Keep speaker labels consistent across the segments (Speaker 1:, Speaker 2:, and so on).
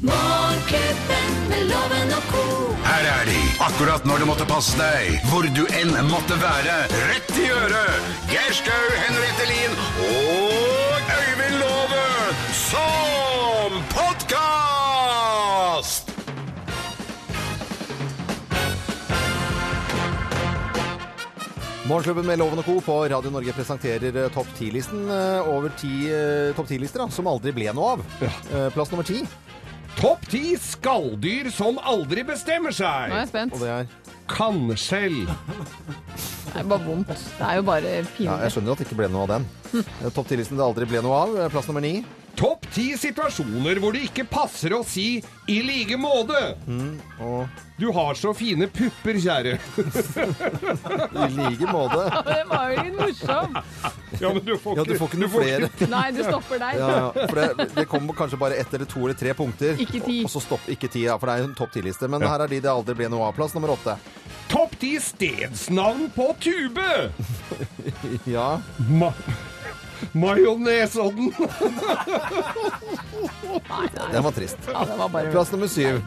Speaker 1: Morgenklubben med loven og ko.
Speaker 2: Her er de, akkurat når du måtte passe deg, hvor du enn måtte være. Rett i øret! Geir Skau, Henriette Lien og Øyvind Låve som podkast!
Speaker 3: Morgenklubben med Loven og Co. på Radio Norge presenterer eh, topp 10-listen eh, over ti eh, topp 10-lister da, som aldri ble noe av. Eh, Plass nummer ti,
Speaker 4: Topp ti skalldyr som aldri bestemmer seg.
Speaker 5: Nå er jeg spent.
Speaker 3: og det er
Speaker 4: Kannskjell.
Speaker 5: Det er bare vondt. Det er jo bare
Speaker 3: Ja,
Speaker 5: pinlig.
Speaker 3: jeg skjønner at det ikke ble noe av den. Eh, Topp 10-listen det aldri ble noe av. eh, Plass nummer ni.
Speaker 4: Topp ti situasjoner hvor det ikke passer å si 'i like måte'.
Speaker 3: Mm, og-
Speaker 4: Du har så fine pupper, kjære.
Speaker 3: I like måte.
Speaker 5: det var jo litt morsom.
Speaker 4: Ja, men du får
Speaker 3: Ja, du får ikke noe flere.
Speaker 5: Nei, du stopper der.
Speaker 3: Ja, ja, for det, det kommer kanskje bare ett eller to eller tre punkter.
Speaker 5: Ikke ti.
Speaker 3: Og, og så stopp, ikke ti, ja, for det er en topp 10-liste. Men her er de det aldri ble noe av. Plass nummer åtte.
Speaker 4: Topp ti stedsnavn på tube.
Speaker 3: Ja.
Speaker 4: Ma Majonesodden.
Speaker 3: Den var trist.
Speaker 5: Ja, det var bare
Speaker 3: Plass nummer syv.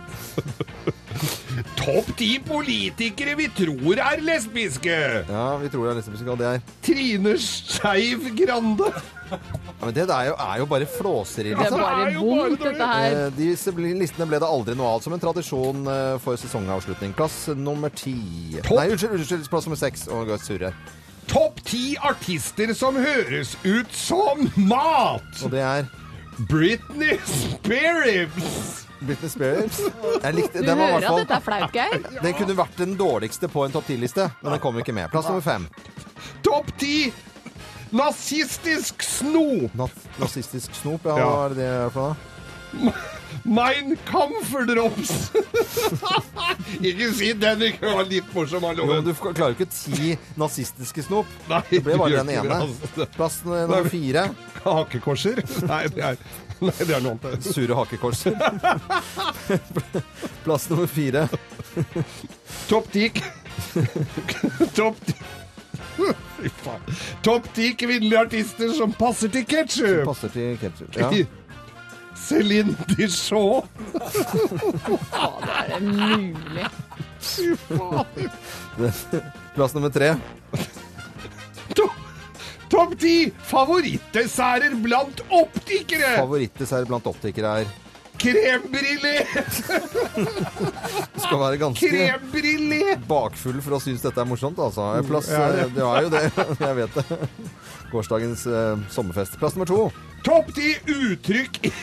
Speaker 4: Topp ti politikere vi tror er lesbiske.
Speaker 3: Ja, vi tror det er neste musikal. Det er
Speaker 4: Trine Skeiv Grande.
Speaker 3: ja, Men det der er jo, er jo bare flåseri,
Speaker 5: Det er
Speaker 3: liksom.
Speaker 5: bare
Speaker 4: Det er jo bare
Speaker 5: vondt, dette her.
Speaker 3: Eh, Disse bli- listene ble det aldri noe av, som en tradisjon eh, for sesongavslutning. Plass nummer ti
Speaker 4: Topp.
Speaker 3: Nei, unnskyld, unnskyld, plass nummer seks. Å, jeg surrer.
Speaker 4: Topp ti artister som høres ut som mat.
Speaker 3: Og det er
Speaker 4: Britney Spears.
Speaker 3: Britney Spears. Jeg likte,
Speaker 5: Du
Speaker 3: den, var i
Speaker 5: hører at
Speaker 3: hvert
Speaker 5: dette
Speaker 3: fall,
Speaker 5: er flaut, Geir.
Speaker 3: den kunne vært den dårligste på en topp ti-liste, men den kom ikke med. Plass nummer fem.
Speaker 4: Topp ti nazistisk snop.
Speaker 3: Nat nazistisk snop, ja,
Speaker 4: Ja.
Speaker 3: hva er det det er for noe?
Speaker 4: Mein Kampferdrops. ikke si den, ikke var litt morsom. hallo.
Speaker 3: Jo, men du f- klarer jo ikke ti nazistiske snop.
Speaker 4: Nei,
Speaker 3: Det ble
Speaker 4: du
Speaker 3: bare
Speaker 4: gjør
Speaker 3: den
Speaker 4: ikke det,
Speaker 3: ene.
Speaker 4: altså.
Speaker 3: Plass nummer fire.
Speaker 4: Hakekorser? Nei, det er, nei, det er noe annet.
Speaker 3: Sure hakekors. Plass nummer fire.
Speaker 4: Topp ti Topp ti Fy faen. Topp ti kvinnelige artister som passer til ketsjup.
Speaker 3: Passer til ketchup. Ja.
Speaker 4: Céline Dijon.
Speaker 5: Er det mulig?
Speaker 4: Fy faen.
Speaker 3: Plass nummer tre.
Speaker 4: Topp topp ti favorittdesserter blant optikere!
Speaker 3: Favorittdessert blant optikere er
Speaker 4: Krembrillé!
Speaker 3: Skal være ganske
Speaker 4: Krembrillé!
Speaker 3: bakfull for å synes dette er morsomt, altså. Plass, eh, det var jo det. Jeg vet det. Gårsdagens eh, sommerfest. Plass nummer to.
Speaker 4: Topp ti uttrykk i,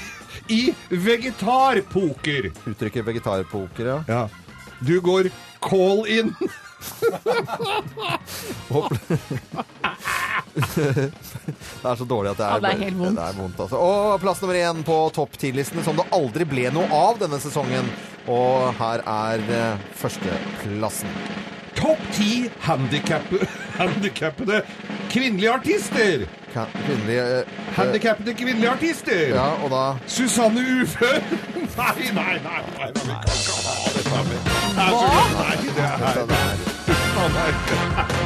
Speaker 4: i vegetarpoker.
Speaker 3: Uttrykket vegetarpoker, ja.
Speaker 4: Ja. Du går call in.
Speaker 3: Hopp. Det er så dårlig at det er,
Speaker 5: Ja, det er helt vondt.
Speaker 3: Det er vondt altså. Og plass nummer én på topp ti-listen som det aldri ble noe av denne sesongen. Og her er eh, førsteplassen.
Speaker 4: Topp ti handikappede kvinnelige artister.
Speaker 3: Ka- Kvinnelige eh,
Speaker 4: Handikappede kvinnelige artister.
Speaker 3: eh, Ja, og da
Speaker 4: Susanne Ufør. Nei, nei, nei. nei, nei. Hva? Nei, det er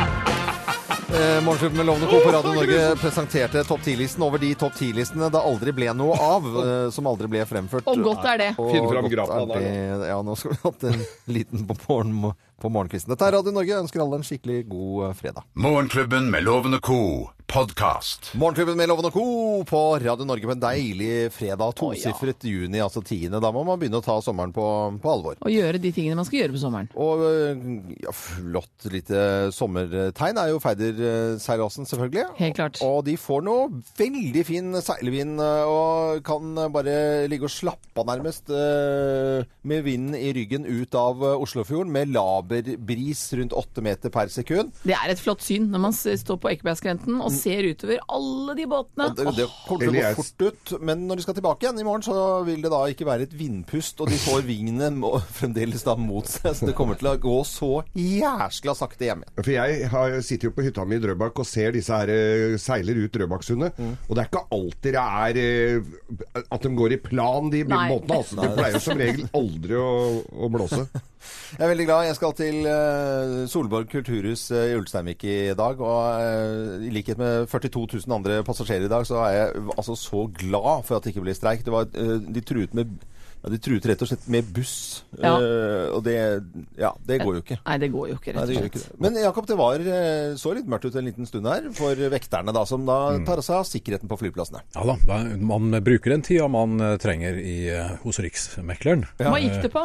Speaker 3: Eh, Morgenklubben med Lovende Co. på Radio Norge presenterte topp 10-listen over de topp 10-listene det aldri ble noe av, eh, som aldri ble fremført.
Speaker 5: Og godt er det.
Speaker 3: Og
Speaker 4: Finn fram
Speaker 3: godt
Speaker 4: grapa
Speaker 3: er
Speaker 4: der,
Speaker 3: det- Ja, nå skal vi ha hatt en liten på, morgen, på morgenkvisten. Dette er Radio Norge. Jeg ønsker alle en skikkelig god eh, fredag.
Speaker 2: Morgenklubben med Loven og Co. podkast.
Speaker 3: Morgenklubben med Lovende Co. på Radio Norge på en deilig fredag. Tosifret juni, altså tiende. Da må man begynne å ta sommeren på, på alvor.
Speaker 5: Å gjøre de tingene man skal gjøre på sommeren.
Speaker 3: Og øh, ja, flott lite sommertegn er jo Feiderseilasen, selvfølgelig.
Speaker 5: Helt klart.
Speaker 3: Og og de får noe veldig fin seilvind øh, og kan bare ligge og slappe av nærmest øh, med vinden i ryggen ut av øh, Oslofjorden med laberbris rundt åtte meter per sekund.
Speaker 5: Det er et flott syn når man s- står på Ekebergskrenten og ser utover alle de båtene.
Speaker 3: Og det, det kommer til å gå
Speaker 4: Elias.
Speaker 3: fort ut, men når de skal tilbake igjen i morgen, så vil det da ikke være et vindpust, og de får vingene må- fremdeles da mot seg, så det kommer til å gå så jæskla sakte hjem igjen.
Speaker 4: For jeg har, sitter jo på hytta mi i Drøbak og ser disse her eh, seiler ut Drøbaksundet. Og det er ikke alltid det er eh, at de går i plan, de
Speaker 5: Nei.
Speaker 4: båtene. Altså. De pleier som regel aldri å, å blåse.
Speaker 3: Jeg er veldig glad. Jeg skal til eh, Solborg kulturhus eh, i Ulsteinvik i dag. Og eh, i likhet med 42 000 andre passasjerer i dag, så er jeg altså så glad for at det ikke ble streik. Det var, eh, de truet med Ja, de truet rett og slett med buss.
Speaker 5: Ja.
Speaker 3: Eh, og det, ja, det går jo ikke.
Speaker 5: Nei, det går jo ikke,
Speaker 3: Nei,
Speaker 5: rett
Speaker 3: det
Speaker 5: og
Speaker 3: gjør ikke
Speaker 5: slett.
Speaker 3: det. Men Jakob, det var, eh, så litt mørkt ut en liten stund her for vekterne, da, som da tar seg av sikkerheten på flyplassene.
Speaker 6: Ja da, da- man bruker den tida man eh, trenger i, eh, hos Riksmekleren.
Speaker 5: Hva gikk det på?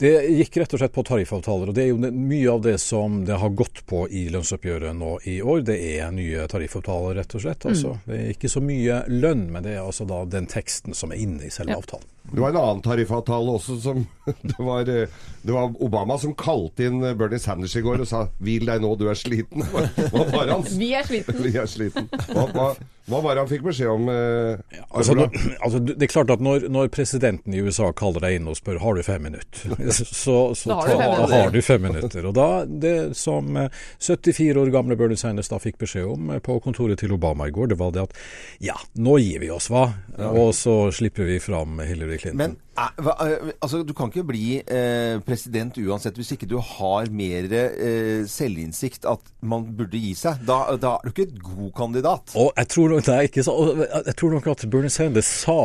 Speaker 6: Det gikk rett og slett på tariffavtaler, og det er jo ne- mye av det som det har gått på i lønnsoppgjøret nå i år. Det er nye tariffavtaler, rett og slett. Altså, det er ikke så mye lønn, men det er altså da den teksten som er inne i selve avtalen.
Speaker 4: Det var en annen tariffavtale også som det var, eh, det var Obama som kalte inn eh, Bernie Sanders i går og sa 'Hvil deg nå, du er sliten'. Hva hva var hans?
Speaker 5: Vi er sliten.
Speaker 4: Vi er sliten. Hva, hva, hva var det han fikk beskjed om? Eh,
Speaker 6: Altså,
Speaker 4: Arvola?
Speaker 6: når- altså, det er klart at når, når presidenten i USA kaller deg inn og spør har du fem minutter, så, så
Speaker 5: Da har du
Speaker 6: ta-
Speaker 5: fem
Speaker 6: da
Speaker 5: minutter.
Speaker 6: har du fem minutter. Og da, det som eh, 74 år gamle Bernie Sanders da fikk beskjed om eh, på kontoret til Obama i går, det var det at ja, nå gir vi oss, hva? Og så slipper vi fram Hillary Clinton.
Speaker 3: Men eh, hva, eh, altså, du kan ikke bli eh, president uansett hvis ikke du har mer eh, selvinnsikt at man burde gi seg. Da, da er du ikke et god kandidat.
Speaker 6: Og jeg tror, nok, nei, ikke så, og jeg tror nok at Bernie Sanders sa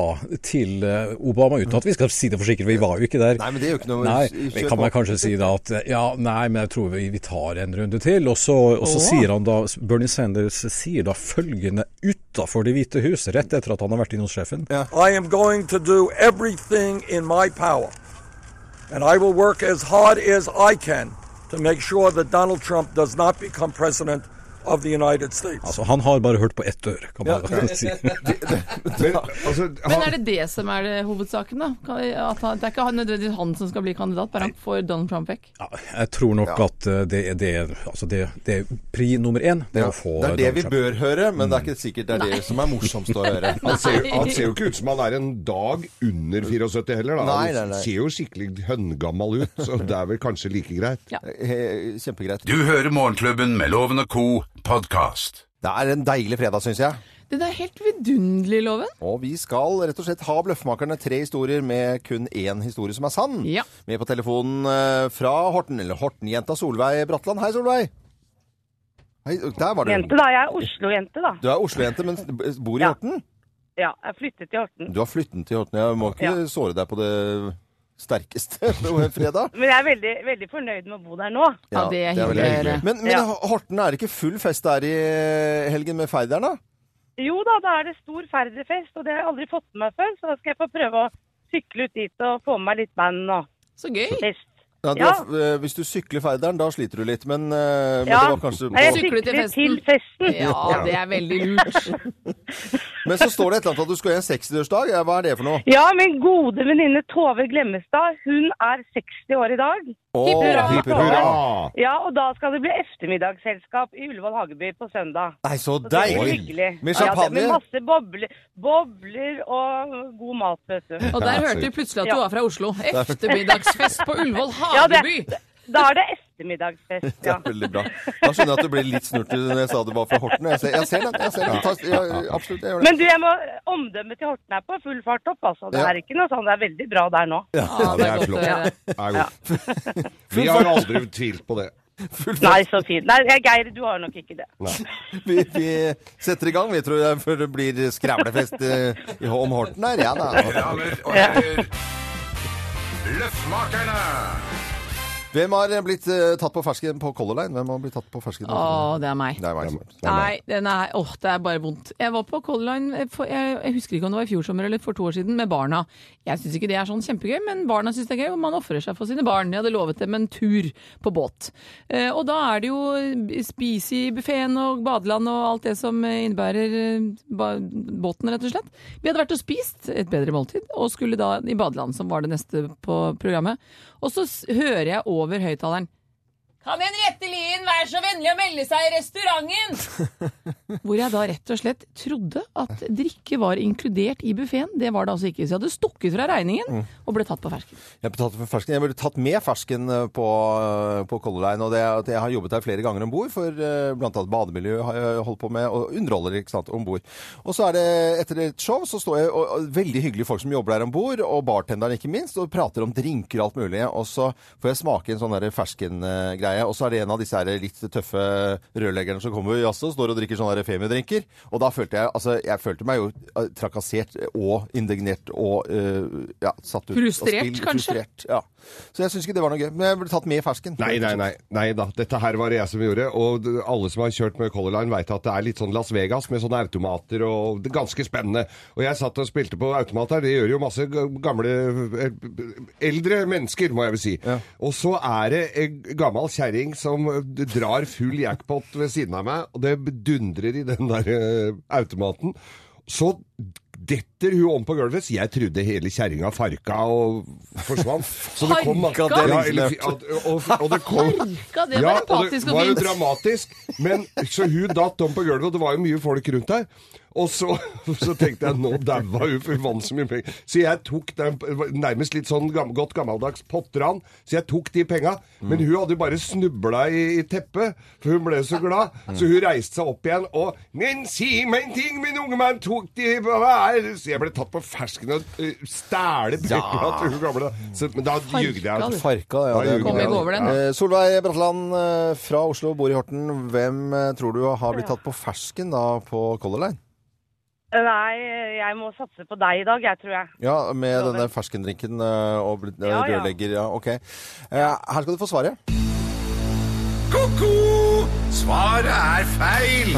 Speaker 6: til eh, Obama, uten at vi skal si det for sikkert, vi var jo ikke der
Speaker 3: Nei, men det er jo ikke noe-
Speaker 6: Nei,
Speaker 3: kjør
Speaker 6: vi kan
Speaker 3: på.
Speaker 6: man kanskje si da at eh, ja, nei, men jeg tror vi, vi tar en runde til. Og så, og så
Speaker 5: Åh.
Speaker 6: sier han da, Bernie Sanders sier da følgende utafor Det hvite hus, rett etter at han har vært inne hos sjefen.
Speaker 7: I am going to do everything in my power, and I will work as hard as I can to make sure that Donald Trump does not become president of the United States.
Speaker 6: Altså, han har bare hørt på ett øre, kan man si.
Speaker 4: men, altså,
Speaker 5: Men
Speaker 4: han-
Speaker 5: er det det som er det hovedsaken, da? Kan- At han, det er ikke han- nødvendigvis han som skal bli kandidat, bare han får Donald Trump vekk.
Speaker 6: Ja, jeg tror nok at eh, det er det, altså det, det er pri nummer én. Det er å få
Speaker 3: det er det
Speaker 6: Donald
Speaker 3: vi
Speaker 6: Trump.
Speaker 3: bør høre, men det er ikke sikkert det er det som er morsomst å høre. Altså,
Speaker 4: han ser, jo- han ser jo ikke ut som han er en dag under 74 heller. Da.
Speaker 3: Nei, nei,
Speaker 4: Han
Speaker 3: nei.
Speaker 4: ser jo skikkelig høngammal ut, så det er vel kanskje like greit.
Speaker 3: Eh, Kjempegreit.
Speaker 2: Du hører Morgenklubben med Loven og Co. podkast.
Speaker 3: Det er en deilig fredag, syns jeg.
Speaker 5: Den er helt vidunderlig, Loven.
Speaker 3: Og vi skal rett og slett ha Bløffmakerne tre historier med kun én historie som er sann.
Speaker 5: Ja.
Speaker 3: Med på telefonen eh, fra Horten, eller Horten-jenta Solveig Bratland. Hei, Solveig! Hei, der var du.
Speaker 8: Jente, da. Jeg er Oslo-jente, da.
Speaker 3: Du er Oslo-jente, men bor i
Speaker 8: Ja.
Speaker 3: Horten?
Speaker 8: Ja, jeg flyttet til Horten.
Speaker 3: Du har flyttet til Horten. Jeg må ikke
Speaker 8: Ja.
Speaker 3: såre deg på det sterkeste på fredag.
Speaker 8: Men jeg er veldig, veldig fornøyd med å bo der nå.
Speaker 5: Ja, det er
Speaker 3: veldig
Speaker 5: hyggelig å høre.
Speaker 3: Men, men
Speaker 8: Ja.
Speaker 3: Horten er det ikke full fest der i helgen med Feideren, da?
Speaker 8: Jo da, da er det stor ferderfest, og det har jeg aldri fått med meg før, så da skal jeg få prøve å sykle ut dit og få med meg litt band og
Speaker 5: Så gøy.
Speaker 8: fest.
Speaker 3: Ja, du
Speaker 8: Ja.
Speaker 3: har- eh, hvis du sykler Feideren, da sliter du litt, men, eh, men
Speaker 8: Ja.
Speaker 3: det var kanskje
Speaker 8: Nei, jeg
Speaker 3: på...
Speaker 5: Sykle til
Speaker 8: sykler til
Speaker 5: festen.
Speaker 8: festen.
Speaker 5: Ja, det er veldig lurt.
Speaker 3: Men så står det et eller annet at du skal i en 60-årsdag. Ja, Hva er det for noe?
Speaker 8: Ja, min gode venninne Tove Glemmestad, hun er 60 år i dag.
Speaker 3: Åh,
Speaker 5: hurra.
Speaker 3: hipp
Speaker 4: Hurra!
Speaker 8: Ja, og da skal det bli eftermiddagsselskap i Ullevål Hageby på søndag.
Speaker 3: Nei, så
Speaker 8: Så det blir
Speaker 3: deilig!
Speaker 8: hyggelig.
Speaker 3: Med
Speaker 8: Ja, det-
Speaker 3: champagne?
Speaker 8: med masse bobler, bobler og god mat, vet du.
Speaker 5: Og der hørte vi plutselig at du
Speaker 8: Ja.
Speaker 5: var fra Oslo. Eftermiddagsfest på Ullevål
Speaker 8: Ja,
Speaker 5: Hageby.
Speaker 8: det, da er det ettermiddagsfest,
Speaker 3: Det
Speaker 8: ja.
Speaker 3: er veldig bra. Da skjønner jeg at du ble litt snurt når jeg sa du var fra Horten. Jeg ser, jeg ser den. Jeg ser den. Ta, ja, absolutt, jeg gjør det.
Speaker 8: Men du, jeg må omdømmet til Horten er på full fart opp, altså. Det
Speaker 3: Ja.
Speaker 8: er ikke noe sånn, det er veldig bra der nå.
Speaker 5: Ja, det er godt å høre.
Speaker 4: Det er godt. Vi har aldri tvilt på det.
Speaker 8: Nei, så fint. Nei, jeg- Geir, du har nok ikke det.
Speaker 3: Vi, vi setter i gang, vi, tror jeg, før det blir skrævlefest eh, i- om Horten her. Ja, da.
Speaker 2: Damer og herrer, Løffmakerne!
Speaker 3: Hvem har blitt eh, tatt på fersken på Color Line? Hvem har blitt tatt på fersken?
Speaker 5: Å, det er meg.
Speaker 3: Det er meg som er.
Speaker 5: Nei, den er, åh, det er bare vondt. Jeg var på Color Line, for, jeg, jeg husker ikke om det var i fjor sommer eller for to år siden, med barna. Jeg syns ikke det er sånn kjempegøy, men barna syns det er gøy, og man ofrer seg for sine barn. Jeg hadde lovet dem en tur på båt. Eh, og da er det jo spis i buffeen og badeland og alt det som eh, innebærer eh, ba båten, rett og slett. Vi hadde vært og spist et bedre måltid, og skulle da i badeland, som var det neste på programmet. Og så s- hører jeg over høyttaleren Kan Henriette Lien være så vennlig å melde seg i restauranten? Hvor jeg da rett og slett trodde at drikke var inkludert i buffeen. Det var det altså ikke. Så jeg hadde stukket fra regningen og ble tatt på fersken.
Speaker 3: Jeg ble tatt for fersken. Jeg ble tatt med fersken eh, på, på Color Line. Og det er at jeg har jobbet her flere ganger om bord, for eh, blant annet bademiljø har jeg eh, holdt på med, og underholder ikke sant, om bord. Og så er det etter et show, så står jeg og, og veldig hyggelige folk som jobber der om bord, og bartenderen ikke minst, og prater om drinker og alt mulig. Og så får jeg smake en sånn der ferskengreie. greie. Og så er det en av disse her litt tøffe rørleggerne som kommer jaså, står og drikker sånne her Femi-drinker. Og da følte jeg altså, jeg følte meg jo eh, trakassert og indignert og eh, ja, satt ut. av
Speaker 5: Frustrert,
Speaker 3: spill.
Speaker 5: kanskje?
Speaker 3: Frustrert, ja. Så jeg syns ikke det var noe gøy. Men jeg ble tatt med i fersken.
Speaker 4: Nei, nei, nei, nei da. Dette her var det jeg som gjorde. Og d- alle som har kjørt med Color Line, veit at det er litt sånn Las Vegas med sånne automater og det er ganske spennende. Og jeg satt og spilte på automat her. Det gjør jo masse g- gamle eh, Eldre mennesker, må jeg vel si. Og så er det ei gammel kjerring som eh, drar full jackpot ved siden av meg, og det dundrer i den der eh, automaten. Så detter hun om på gulvet. Så jeg trodde hele kjerringa farka og forsvant. Så det kom
Speaker 5: Farka?
Speaker 4: Ja, eller, fi- at- og, og det kom
Speaker 5: Farka, det var empatisk og
Speaker 4: var jo
Speaker 5: fint.
Speaker 4: dramatisk. Men så hun datt om på gulvet, og det var jo mye folk rundt der. Og så, så tenkte jeg nå daua hun, for hun vant så mye penger. Så jeg tok den nærmest litt sånn gam, godt gammeldags potteran. Så jeg tok de penga. Men hun hadde jo bare snubla i, i teppet, for hun ble så glad. Så hun reiste seg opp igjen og Men si meg en ting, min unge mann, tok de hva er Så jeg ble tatt på fersken og øh, stæle penga til hun gamle. Så, men da ljugde jeg. altså.
Speaker 3: Farka,
Speaker 5: Farka, du.
Speaker 3: ja.
Speaker 4: Da
Speaker 3: det-
Speaker 4: ljuger
Speaker 5: Kom
Speaker 4: jeg.
Speaker 5: ikke over den.
Speaker 4: Ja.
Speaker 3: Eh, Solveig Bratland eh, fra Oslo, bor i Horten. Hvem eh, tror du har blitt tatt på fersken da på Color Line?
Speaker 8: Nei, jeg må satse på deg i dag, jeg tror jeg.
Speaker 3: Ja, med
Speaker 8: Loven.
Speaker 3: denne ferskendrinken eh, og blitt- eh,
Speaker 8: Ja, ja.
Speaker 3: rørlegger. Ja, ok. Eh, Her skal du få svaret.
Speaker 2: Ko-ko! Svaret er feil!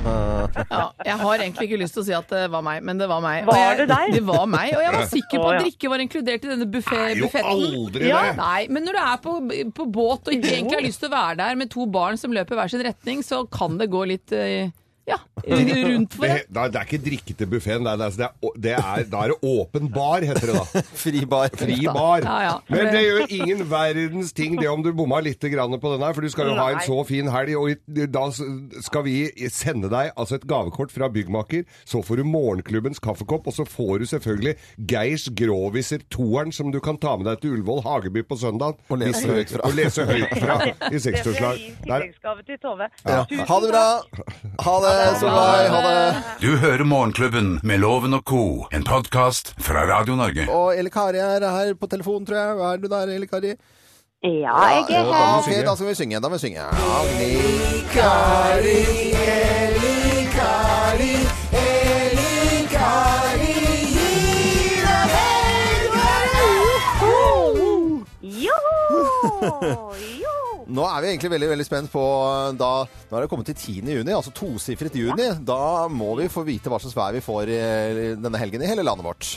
Speaker 5: Ja, jeg har egentlig ikke lyst til å si at det var meg, men det var meg. Og
Speaker 8: Var
Speaker 5: jeg,
Speaker 8: det deg?
Speaker 5: Det var meg, og jeg var sikker på
Speaker 8: Å, ja.
Speaker 5: at drikke var inkludert i denne buffet,
Speaker 4: jo
Speaker 5: buffetten.
Speaker 4: aldri
Speaker 5: ja,
Speaker 4: det.
Speaker 5: Nei, men når du er på, på båt og ikke egentlig har lyst til å være der med to barn som løper hver sin retning, så kan det gå litt eh, ja, rundt for
Speaker 4: Det,
Speaker 5: deg.
Speaker 4: da, det er ikke drikke til buffeen, det er, det er, det er, da er det åpen bar, heter det da.
Speaker 3: Fri bar.
Speaker 4: Fri bar.
Speaker 5: Ja, ja.
Speaker 4: Men det gjør ingen verdens ting det om du bomma litt grann på den her, for du skal jo ha en
Speaker 8: Nei.
Speaker 4: så fin helg, og i- da s- skal vi sende deg altså et gavekort fra byggmaker, så får du morgenklubbens kaffekopp, og så får du selvfølgelig Geirs Gråviser toeren som du kan ta med deg til Ullevål Hageby på søndag.
Speaker 3: Og lese
Speaker 4: Hvis-
Speaker 3: høyt fra.
Speaker 4: Og lese høyt fra i
Speaker 8: Det skal jeg
Speaker 4: sekstårslag.
Speaker 8: gi i
Speaker 4: Der-
Speaker 8: tilleggsgave til Tove.
Speaker 3: Ja.
Speaker 8: Tusen
Speaker 3: Ha det bra! Ha det, Solveig. Ha det.
Speaker 2: Du hører Morgenklubben med Loven og co., en podkast fra Radio Norge.
Speaker 3: Og Elle Kari er her på telefon, tror jeg. Er du der, Elle Kari?
Speaker 9: Ja, jeg er her.
Speaker 3: Ok, da skal vi synge. Da må vi synge. Agni Kari, Eli Kari, Eli Kari, gi deg
Speaker 9: Joho! Jo!
Speaker 3: Nå er vi egentlig veldig veldig spent på eh, da, Nå er det kommet til 10. juni, altså tosifret juni. Da må vi få vite hva slags vær vi får eh, denne helgen i hele landet vårt.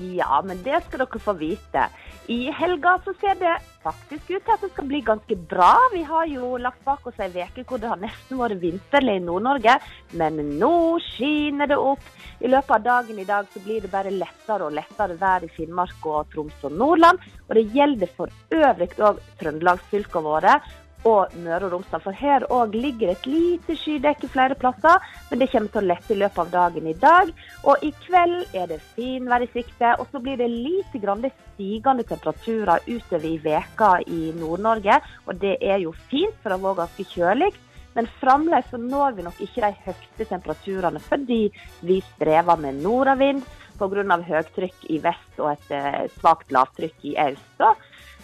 Speaker 9: Ja, men det skal dere få vite. I helga så ser det faktisk ut til at det skal bli ganske bra. Vi har jo lagt bak oss ei uke hvor det har nesten vært vinterlig i Nord-Norge, men nå skiner det opp. I løpet av dagen i dag så blir det bare lettere og lettere vær i Finnmark og Troms og Nordland. Og det gjelder for øvrig òg trøndelagsfylkene våre og Møre og Romsdal. For her òg ligger det et lite skydekke flere plasser, men det kommer til å lette i løpet av dagen i dag. Og i kveld er det finvær i sikte, og så blir det lite grann stigende temperaturer utover i veka i Nord-Norge. Og det er jo fint, for det var ganske kjølig. Men fremdeles så når vi nok ikke de høyeste temperaturene fordi vi strever med nordavind pga. høytrykk i vest og et eh, svakt lavtrykk i øst. da.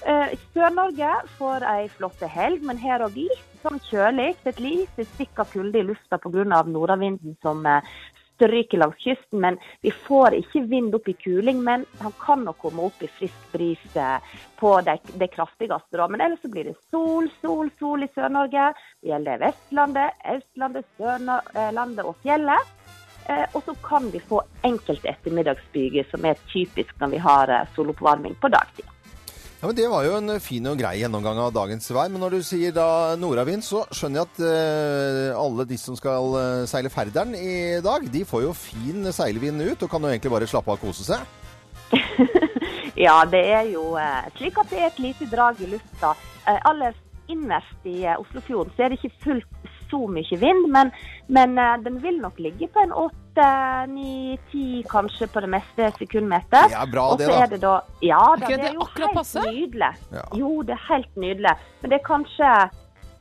Speaker 9: Eh, Sør-Norge får ei flott helg, men her òg litt sånn kjølig. Et lite stikk av kulde i lufta pga. nordavinden som eh, stryker langs kysten. Men vi får ikke vind opp i kuling, men han kan nok komme opp i frisk bris eh, på det, det kraftigste. Da. Men ellers så blir det sol, sol, sol i Sør-Norge. Det gjelder Vestlandet, Østlandet, Sørlandet og fjellet. Eh, Og så kan vi få enkelte ettermiddagsbyger, som er typisk når vi har eh, soloppvarming på dagtid.
Speaker 3: Ja, men Det var jo en fin og grei gjennomgang av dagens vær. Men når du sier da nordavind, så skjønner jeg at eh, alle de som skal eh, seile Færderen i dag, de får jo fin seilvind ut og kan jo egentlig bare slappe av og kose seg.
Speaker 9: Ja, det er jo eh, slik at det er et lite drag i lufta. Eh, aller innerst i eh, Oslofjorden så er det ikke fullt så mye vind, men, men eh, den vil nok ligge på en åtte, ni, ti kanskje på det meste sekundmeter.
Speaker 3: Det er bra,
Speaker 9: Og
Speaker 3: det,
Speaker 9: så
Speaker 3: da.
Speaker 9: er det da Ja da,
Speaker 5: ikke
Speaker 9: det
Speaker 5: det
Speaker 9: er jo
Speaker 5: akkurat
Speaker 9: helt
Speaker 5: passe?
Speaker 9: nydelig.
Speaker 3: Ja.
Speaker 9: Jo, det er helt nydelig. Men det er kanskje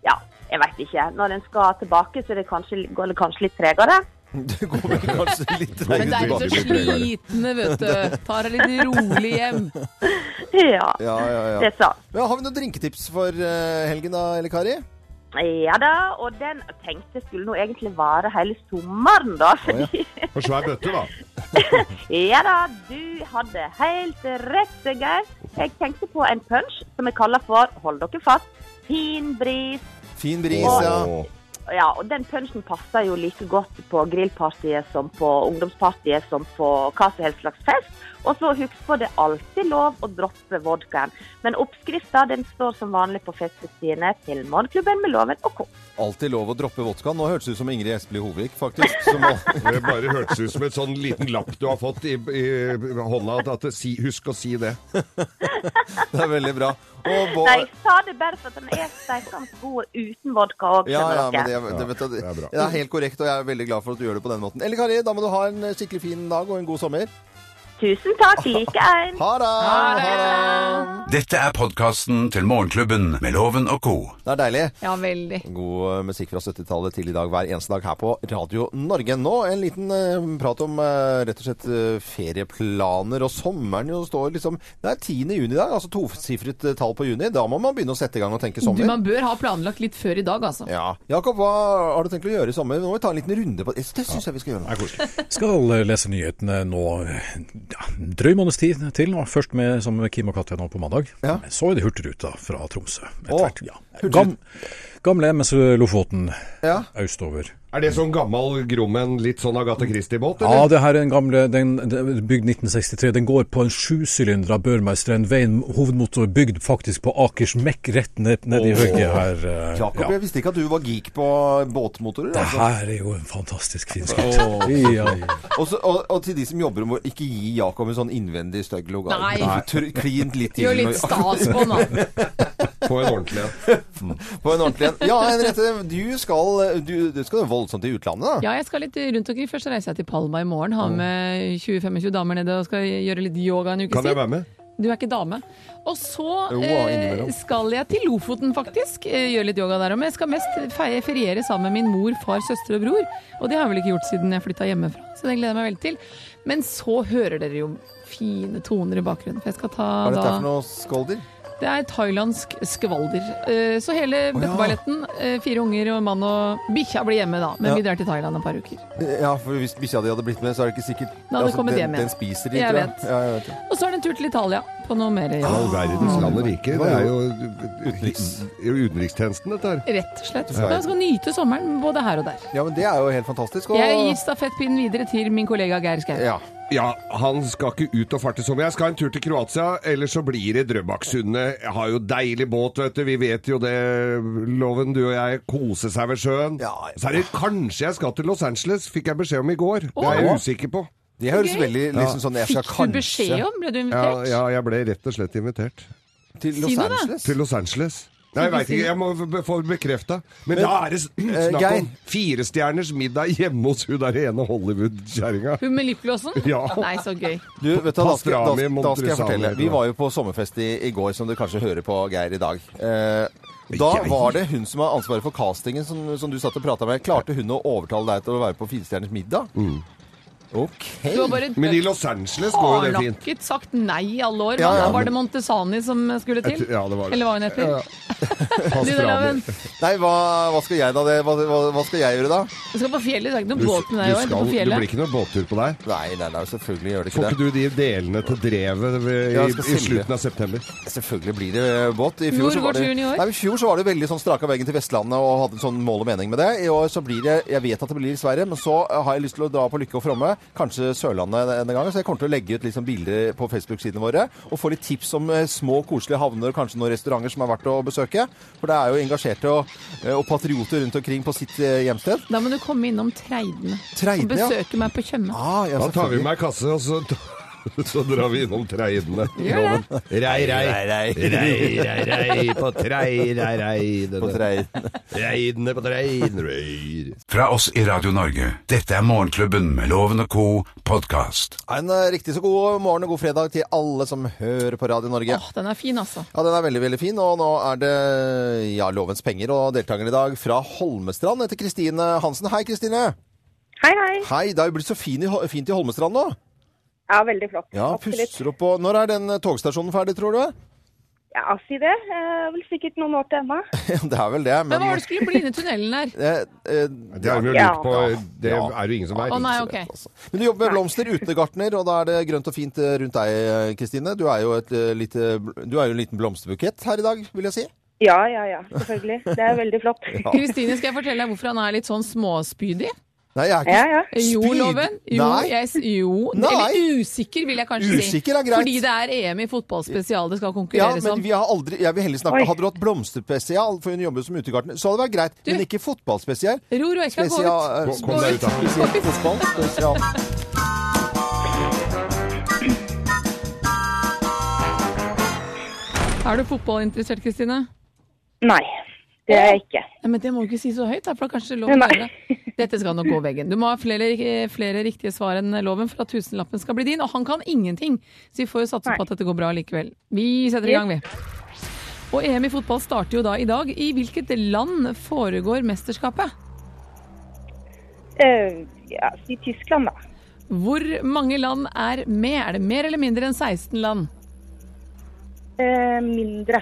Speaker 9: Ja, jeg veit ikke. Når en skal tilbake, så er det kanskje, går det kanskje litt tregere.
Speaker 3: Du går vel kanskje litt
Speaker 5: Men det er
Speaker 3: lenger
Speaker 5: ikke så
Speaker 3: tilbake.
Speaker 5: slitne, vet du. Tar deg litt rolig hjem.
Speaker 9: Ja,
Speaker 3: Ja, ja,
Speaker 9: det
Speaker 3: ja.
Speaker 9: er sant.
Speaker 3: ja. Har vi noen drinketips for eh, helgen da, eller Kari?
Speaker 9: Ja da, og den tenkte jeg skulle nå egentlig vare hele sommeren, da.
Speaker 3: ja.
Speaker 9: Fordi,
Speaker 4: For svær bøtte, da.
Speaker 9: ja da, du hadde helt rett, Geir. Jeg tenkte på en punch som jeg kaller for, hold dere fast, fin bris.
Speaker 3: Fin bris, ja.
Speaker 4: Åh.
Speaker 9: Ja, og den punchen passer jo like godt på grillpartiet som på ungdomspartiet som på hva som helst slags fest. Og så husk på det er alltid lov å droppe vodkaen. Men oppskrifta den står som vanlig på festsidene til Morgenklubben med Loven og Co.
Speaker 3: Alltid lov å droppe vodkaen. Nå hørtes det ut som Ingrid Espelid Hovig, faktisk. Som
Speaker 4: Det bare hørtes ut som et sånn liten lapp du har fått i, i hånda. At det, si, husk å si det.
Speaker 3: det er veldig bra. Og Bård-
Speaker 9: Nei, jeg sa det bare for at den er steikende god uten vodka òg.
Speaker 3: Ja, ja, men det, det, vet du, det,
Speaker 4: det er bra.
Speaker 3: er helt korrekt, og jeg er veldig glad for at du gjør det på den måten. Eller Kari, da må du ha en eh, skikkelig fin dag og en god sommer.
Speaker 9: Tusen takk, like en.
Speaker 3: Ha det!
Speaker 2: Dette er podkasten til Morgenklubben med Loven og co.
Speaker 3: Det er deilig.
Speaker 5: Ja, veldig.
Speaker 3: God eh, musikk fra 70-tallet til i dag hver eneste dag her på Radio Norge. Nå en liten eh, prat om eh, rett og slett eh, ferieplaner, og sommeren jo står liksom Det er 10. juni i dag, altså tosifret eh, tall på juni. Da må man begynne å sette i gang og tenke
Speaker 5: Du,
Speaker 3: sommer.
Speaker 5: man bør ha planlagt litt før i dag, altså.
Speaker 3: Ja. Jakob, hva har du tenkt å gjøre i sommer? Nå må vi ta en liten runde på det. Det syns jeg vi skal gjøre nå.
Speaker 6: Skal lese nyhetene nå ja, en drøy måneds tid til. nå. Først med, sammen med Kim og Katja nå på mandag.
Speaker 3: Ja.
Speaker 6: Så er det Hurtigruta fra Tromsø. etter
Speaker 3: Å,
Speaker 6: hvert, ja. Gam, gamle MS Lofoten
Speaker 3: Ja.
Speaker 6: østover.
Speaker 4: Er det sånn gammal grummen, litt sånn Agathe Christie-båt,
Speaker 6: Ja,
Speaker 4: eller?
Speaker 6: det her er en gamle den, den, bygd 1963. Den går på en sjusylindra Børmeisteren. Veien hovedmotor bygd faktisk på Akersmek rett ned, ned i høyre her. eh,
Speaker 3: Jakob,
Speaker 6: ja.
Speaker 3: jeg visste ikke at du var geek på båtmotorer.
Speaker 6: Det
Speaker 3: altså.
Speaker 6: her er jo en fantastisk fin skatt. Ja, ja.
Speaker 3: Og, så, og, og til de som jobber om å ikke gi Jakob en sånn innvendig stygg logo.
Speaker 5: Nei.
Speaker 3: Klint litt til
Speaker 5: Gjør litt stas på den, da.
Speaker 3: Ah.
Speaker 4: På en ordentlig en.
Speaker 3: på en ordentlig en. Ja, Henriette, du skal du, du skal voldsomt til utlandet, da.
Speaker 5: Ja, jeg skal litt rundt omkring. Først reiser jeg til Palma i morgen. Har med 20-25 damer nede og skal gjøre litt yoga en uke
Speaker 4: Kan jeg
Speaker 5: tid.
Speaker 4: være med?
Speaker 5: Du er ikke dame. Og så
Speaker 3: Jo,
Speaker 5: eh,
Speaker 3: innimellom.
Speaker 5: skal jeg til Lofoten, faktisk. Eh, Gjøre litt yoga der òg. Men jeg skal mest fe- feriere sammen med min mor, far, søster og bror. Og det har jeg vel ikke gjort siden jeg flytta hjemmefra, så det gleder jeg meg veldig til. Men så hører dere jo fine toner i bakgrunnen, for jeg skal ta
Speaker 3: Hva er dette
Speaker 5: da
Speaker 3: her for noe skolder?
Speaker 5: Det er thailandsk skvalder. Eh, Så hele
Speaker 3: Å, ja.
Speaker 5: bøtteballetten, eh, fire unger og mann og bikkja blir hjemme da, men
Speaker 3: Ja.
Speaker 5: vi drar til Thailand et par uker.
Speaker 3: Ja, for hvis bikkja di hadde blitt med, så er det ikke sikkert altså,
Speaker 5: hadde kommet
Speaker 3: den,
Speaker 5: hjem igjen.
Speaker 3: den spiser de,
Speaker 5: Jeg
Speaker 3: tror jeg.
Speaker 5: vet.
Speaker 3: Ja, jeg vet det.
Speaker 5: Og så er det en tur til Italia på noe mer jobb.
Speaker 4: All verdens land og rike. Det er jo
Speaker 3: Utenriks-
Speaker 4: det er jo utenrikstjenesten, dette her.
Speaker 5: Rett og slett. Så jeg skal nyte sommeren både her og der.
Speaker 3: ja, men det er jo helt fantastisk. Og...
Speaker 5: Jeg gir stafettpinnen videre til min kollega Geir Skau.
Speaker 3: ja.
Speaker 4: Ja, han skal ikke ut og farte som jeg. Jeg skal en tur til Kroatia, eller så blir det Drøbaksundet. Jeg har jo deilig båt, vet du. Vi vet jo det, Loven, du og jeg. Kose seg ved sjøen.
Speaker 3: Ja.
Speaker 4: Så er det kanskje jeg skal til Los Angeles, fikk jeg beskjed om i går. Det er
Speaker 3: Åh.
Speaker 4: jeg usikker på.
Speaker 3: Det høres veldig liksom sånn Jeg skal
Speaker 5: Fikk
Speaker 3: kanskje
Speaker 5: du beskjed om? Ble du
Speaker 4: Ja,
Speaker 5: invitert?
Speaker 4: ja, jeg ble rett og slett invitert
Speaker 3: til
Speaker 5: Si
Speaker 3: Los
Speaker 5: noe, da.
Speaker 3: Angeles?
Speaker 4: til Los Angeles. Nei, jeg veit ikke, jeg må be- få bekrefta. Men, da er det s-
Speaker 3: Eh,
Speaker 4: snakk
Speaker 3: Geir.
Speaker 4: om firestjerners middag hjemme hos hun der ene Hollywood-kjerringa.
Speaker 5: Hun med lipglossen?
Speaker 4: Ja.
Speaker 5: Nei, så gøy.
Speaker 3: Du, vet du, hva, da, skal, da, da skal
Speaker 4: Pastrami,
Speaker 3: jeg
Speaker 4: Montresano,
Speaker 3: fortelle. Vi
Speaker 4: tror jeg.
Speaker 3: var jo på sommerfest i, i går, som du kanskje hører på, Geir, i dag. Eh, da
Speaker 4: Jeg?
Speaker 3: var det hun som har ansvaret for castingen, som, som du satt og prata med. Klarte hun å overtale deg til å være på Firestjerners middag? OK.
Speaker 5: Du har bare
Speaker 4: Men i Los Angeles går jo det fint.
Speaker 5: hardnakket sagt nei i alle år.
Speaker 3: Ja, ja,
Speaker 5: var det
Speaker 4: men-
Speaker 5: Montesani som skulle til?
Speaker 4: Jeg tror- ja, det var det.
Speaker 5: Eller hva hun heter? Du, der, Laven,
Speaker 3: Nei, hva, hva skal jeg da? Det, hva, hva, hva skal jeg gjøre da?
Speaker 5: du skal på fjellet, det er ikke
Speaker 4: Du,
Speaker 5: noe
Speaker 4: du,
Speaker 5: båt med deg òg?
Speaker 4: skal,
Speaker 5: På
Speaker 4: du blir
Speaker 5: fjellet?
Speaker 4: ikke noe båttur på deg.
Speaker 3: Nei, nei, nei, selvfølgelig gjør det
Speaker 4: Får
Speaker 3: ikke
Speaker 4: ikke
Speaker 3: det.
Speaker 4: du de delene til drevet ved-
Speaker 3: Ja,
Speaker 4: i,
Speaker 3: jeg skal
Speaker 4: i
Speaker 3: selge.
Speaker 4: slutten av september?
Speaker 3: Selvfølgelig blir det båt. I
Speaker 5: Hvor
Speaker 3: så
Speaker 5: går
Speaker 3: var det,
Speaker 5: turen i år?
Speaker 3: Nei, I fjor så var det veldig sånn straka veggen til Vestlandet og hadde en sånn mål og mening med det. I år så blir det Jeg vet at det blir Sverige, men så eh, har jeg lyst til å dra på Lykke og Fromme. Kanskje Sørlandet denne gangen. Så jeg kommer til å legge ut liksom bilder på Facebook-sidene våre og få litt tips om eh, små, koselige havner og kanskje noen restauranter som er verdt å besøke. For det er jo engasjerte og, eh, og patrioter rundt omkring på sitt eh, hjemsted.
Speaker 5: Da må du komme innom Treidene.
Speaker 3: Treidene,
Speaker 5: og besøke meg på Tjøme.
Speaker 3: Ah, ja,
Speaker 4: Da tar vi
Speaker 3: selvfølgelig.
Speaker 4: med ei kasse, og så, så drar vi innom treidene.
Speaker 5: Gjør det.
Speaker 4: Rei, rei.
Speaker 3: Rei, rei.
Speaker 4: Rei, rei, rei, på trei, rei,
Speaker 3: På
Speaker 4: rei.
Speaker 3: treid.
Speaker 4: Reidene på trein, rei.
Speaker 2: Fra oss i Radio Norge. Dette er Morgenklubben med Loven og co. podkast.
Speaker 3: En eh, riktig så god morgen og god fredag til alle som hører på Radio Norge.
Speaker 5: Åh, den er fin, altså.
Speaker 3: Ja, den er veldig, veldig fin, og nå er det ja, lovens penger og deltaker i dag fra Holmestrand heter Kristine Hansen. Hei, Kristine!
Speaker 8: Hei, hei.
Speaker 3: Hei, det er jo blitt så fin i, Hol- fint i Holmestrand nå.
Speaker 8: Ja, veldig flott.
Speaker 3: Ja,
Speaker 8: Absolutt.
Speaker 3: puster opp og Når er den eh, togstasjonen ferdig, tror du?
Speaker 8: Ja, si det. Eh, vel sikkert noen år til ennå.
Speaker 3: det er vel det,
Speaker 5: Men
Speaker 3: men
Speaker 5: hva var det skulle bli inni tunnelen her?
Speaker 3: eh, eh,
Speaker 4: Det har vi jo
Speaker 8: Ja.
Speaker 4: lurt på. Det
Speaker 3: Ja.
Speaker 4: er jo ingen som
Speaker 5: Å
Speaker 4: veit.
Speaker 5: nei, ok.
Speaker 3: altså. Men du jobber med blomster, utegartner, og da er det grønt og fint eh, rundt deg, eh, Kristine. Du er jo et eh, lite, du er jo en liten blomsterbukett her i dag, vil jeg si.
Speaker 8: Ja, ja, ja. Selvfølgelig. Det er veldig flott.
Speaker 5: Kristine, skal jeg fortelle deg hvorfor han er litt sånn småspydig?
Speaker 3: Nei, jeg er
Speaker 8: Ja,
Speaker 3: ikke
Speaker 8: ja.
Speaker 5: Jo,
Speaker 3: Spyd?
Speaker 5: Loven. Jo,
Speaker 3: Nei.
Speaker 5: jeg, s- jo.
Speaker 3: Nei.
Speaker 5: Eller usikker, vil jeg kanskje si.
Speaker 3: Usikker er greit.
Speaker 5: Fordi det er EM i fotballspesial det skal
Speaker 3: Ja,
Speaker 5: konkurreres
Speaker 3: men
Speaker 5: om.
Speaker 3: vi har aldri, jeg vil heller snakke
Speaker 8: Oi.
Speaker 3: Hadde du hatt blomsterspesial, for hun jobber som utegartner, så hadde det vært greit.
Speaker 5: Du.
Speaker 3: Men ikke fotballspesial.
Speaker 5: Ro, ro, jeg skal gå
Speaker 3: Spesial,
Speaker 5: ut.
Speaker 3: eh,
Speaker 4: Kom- kom deg ut, da.
Speaker 3: spesial fotball, spesial.
Speaker 5: Er du fotballinteressert, Kristine?
Speaker 8: Nei, det er jeg ikke.
Speaker 5: Ja, men det må du ikke si så høyt, da, for da kanskje loven
Speaker 8: Nei.
Speaker 5: hører det. Dette skal nok gå veggen. Du må ha flere, flere riktige svar enn loven for at tusenlappen skal bli din, og han kan ingenting. Så vi får jo satse
Speaker 8: Nei.
Speaker 5: på at dette går bra likevel. Vi setter i gang, vi. Og EM i fotball starter jo da i dag. I hvilket land foregår mesterskapet?
Speaker 8: Eh, ja, si Tyskland, da.
Speaker 5: Hvor mange land er med? Er det mer eller mindre enn 16 land?
Speaker 8: Eh, mindre.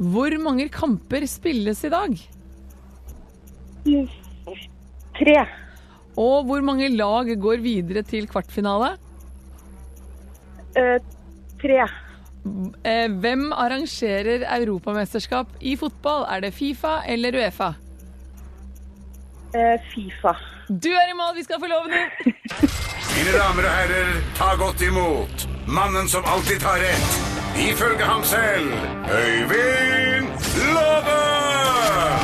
Speaker 5: Hvor mange kamper spilles i dag?
Speaker 8: Tre.
Speaker 5: Og hvor mange lag går videre til kvartfinale?
Speaker 8: Eh, tre.
Speaker 5: Eh, Hvem arrangerer europamesterskap i fotball? Er det Fifa eller Uefa?
Speaker 8: Eh, Fifa.
Speaker 5: Du er i mål, vi skal få loven din!
Speaker 2: Mine damer og herrer, ta godt imot mannen som alltid tar rett. Ifølge ham selv Øyvind Låve!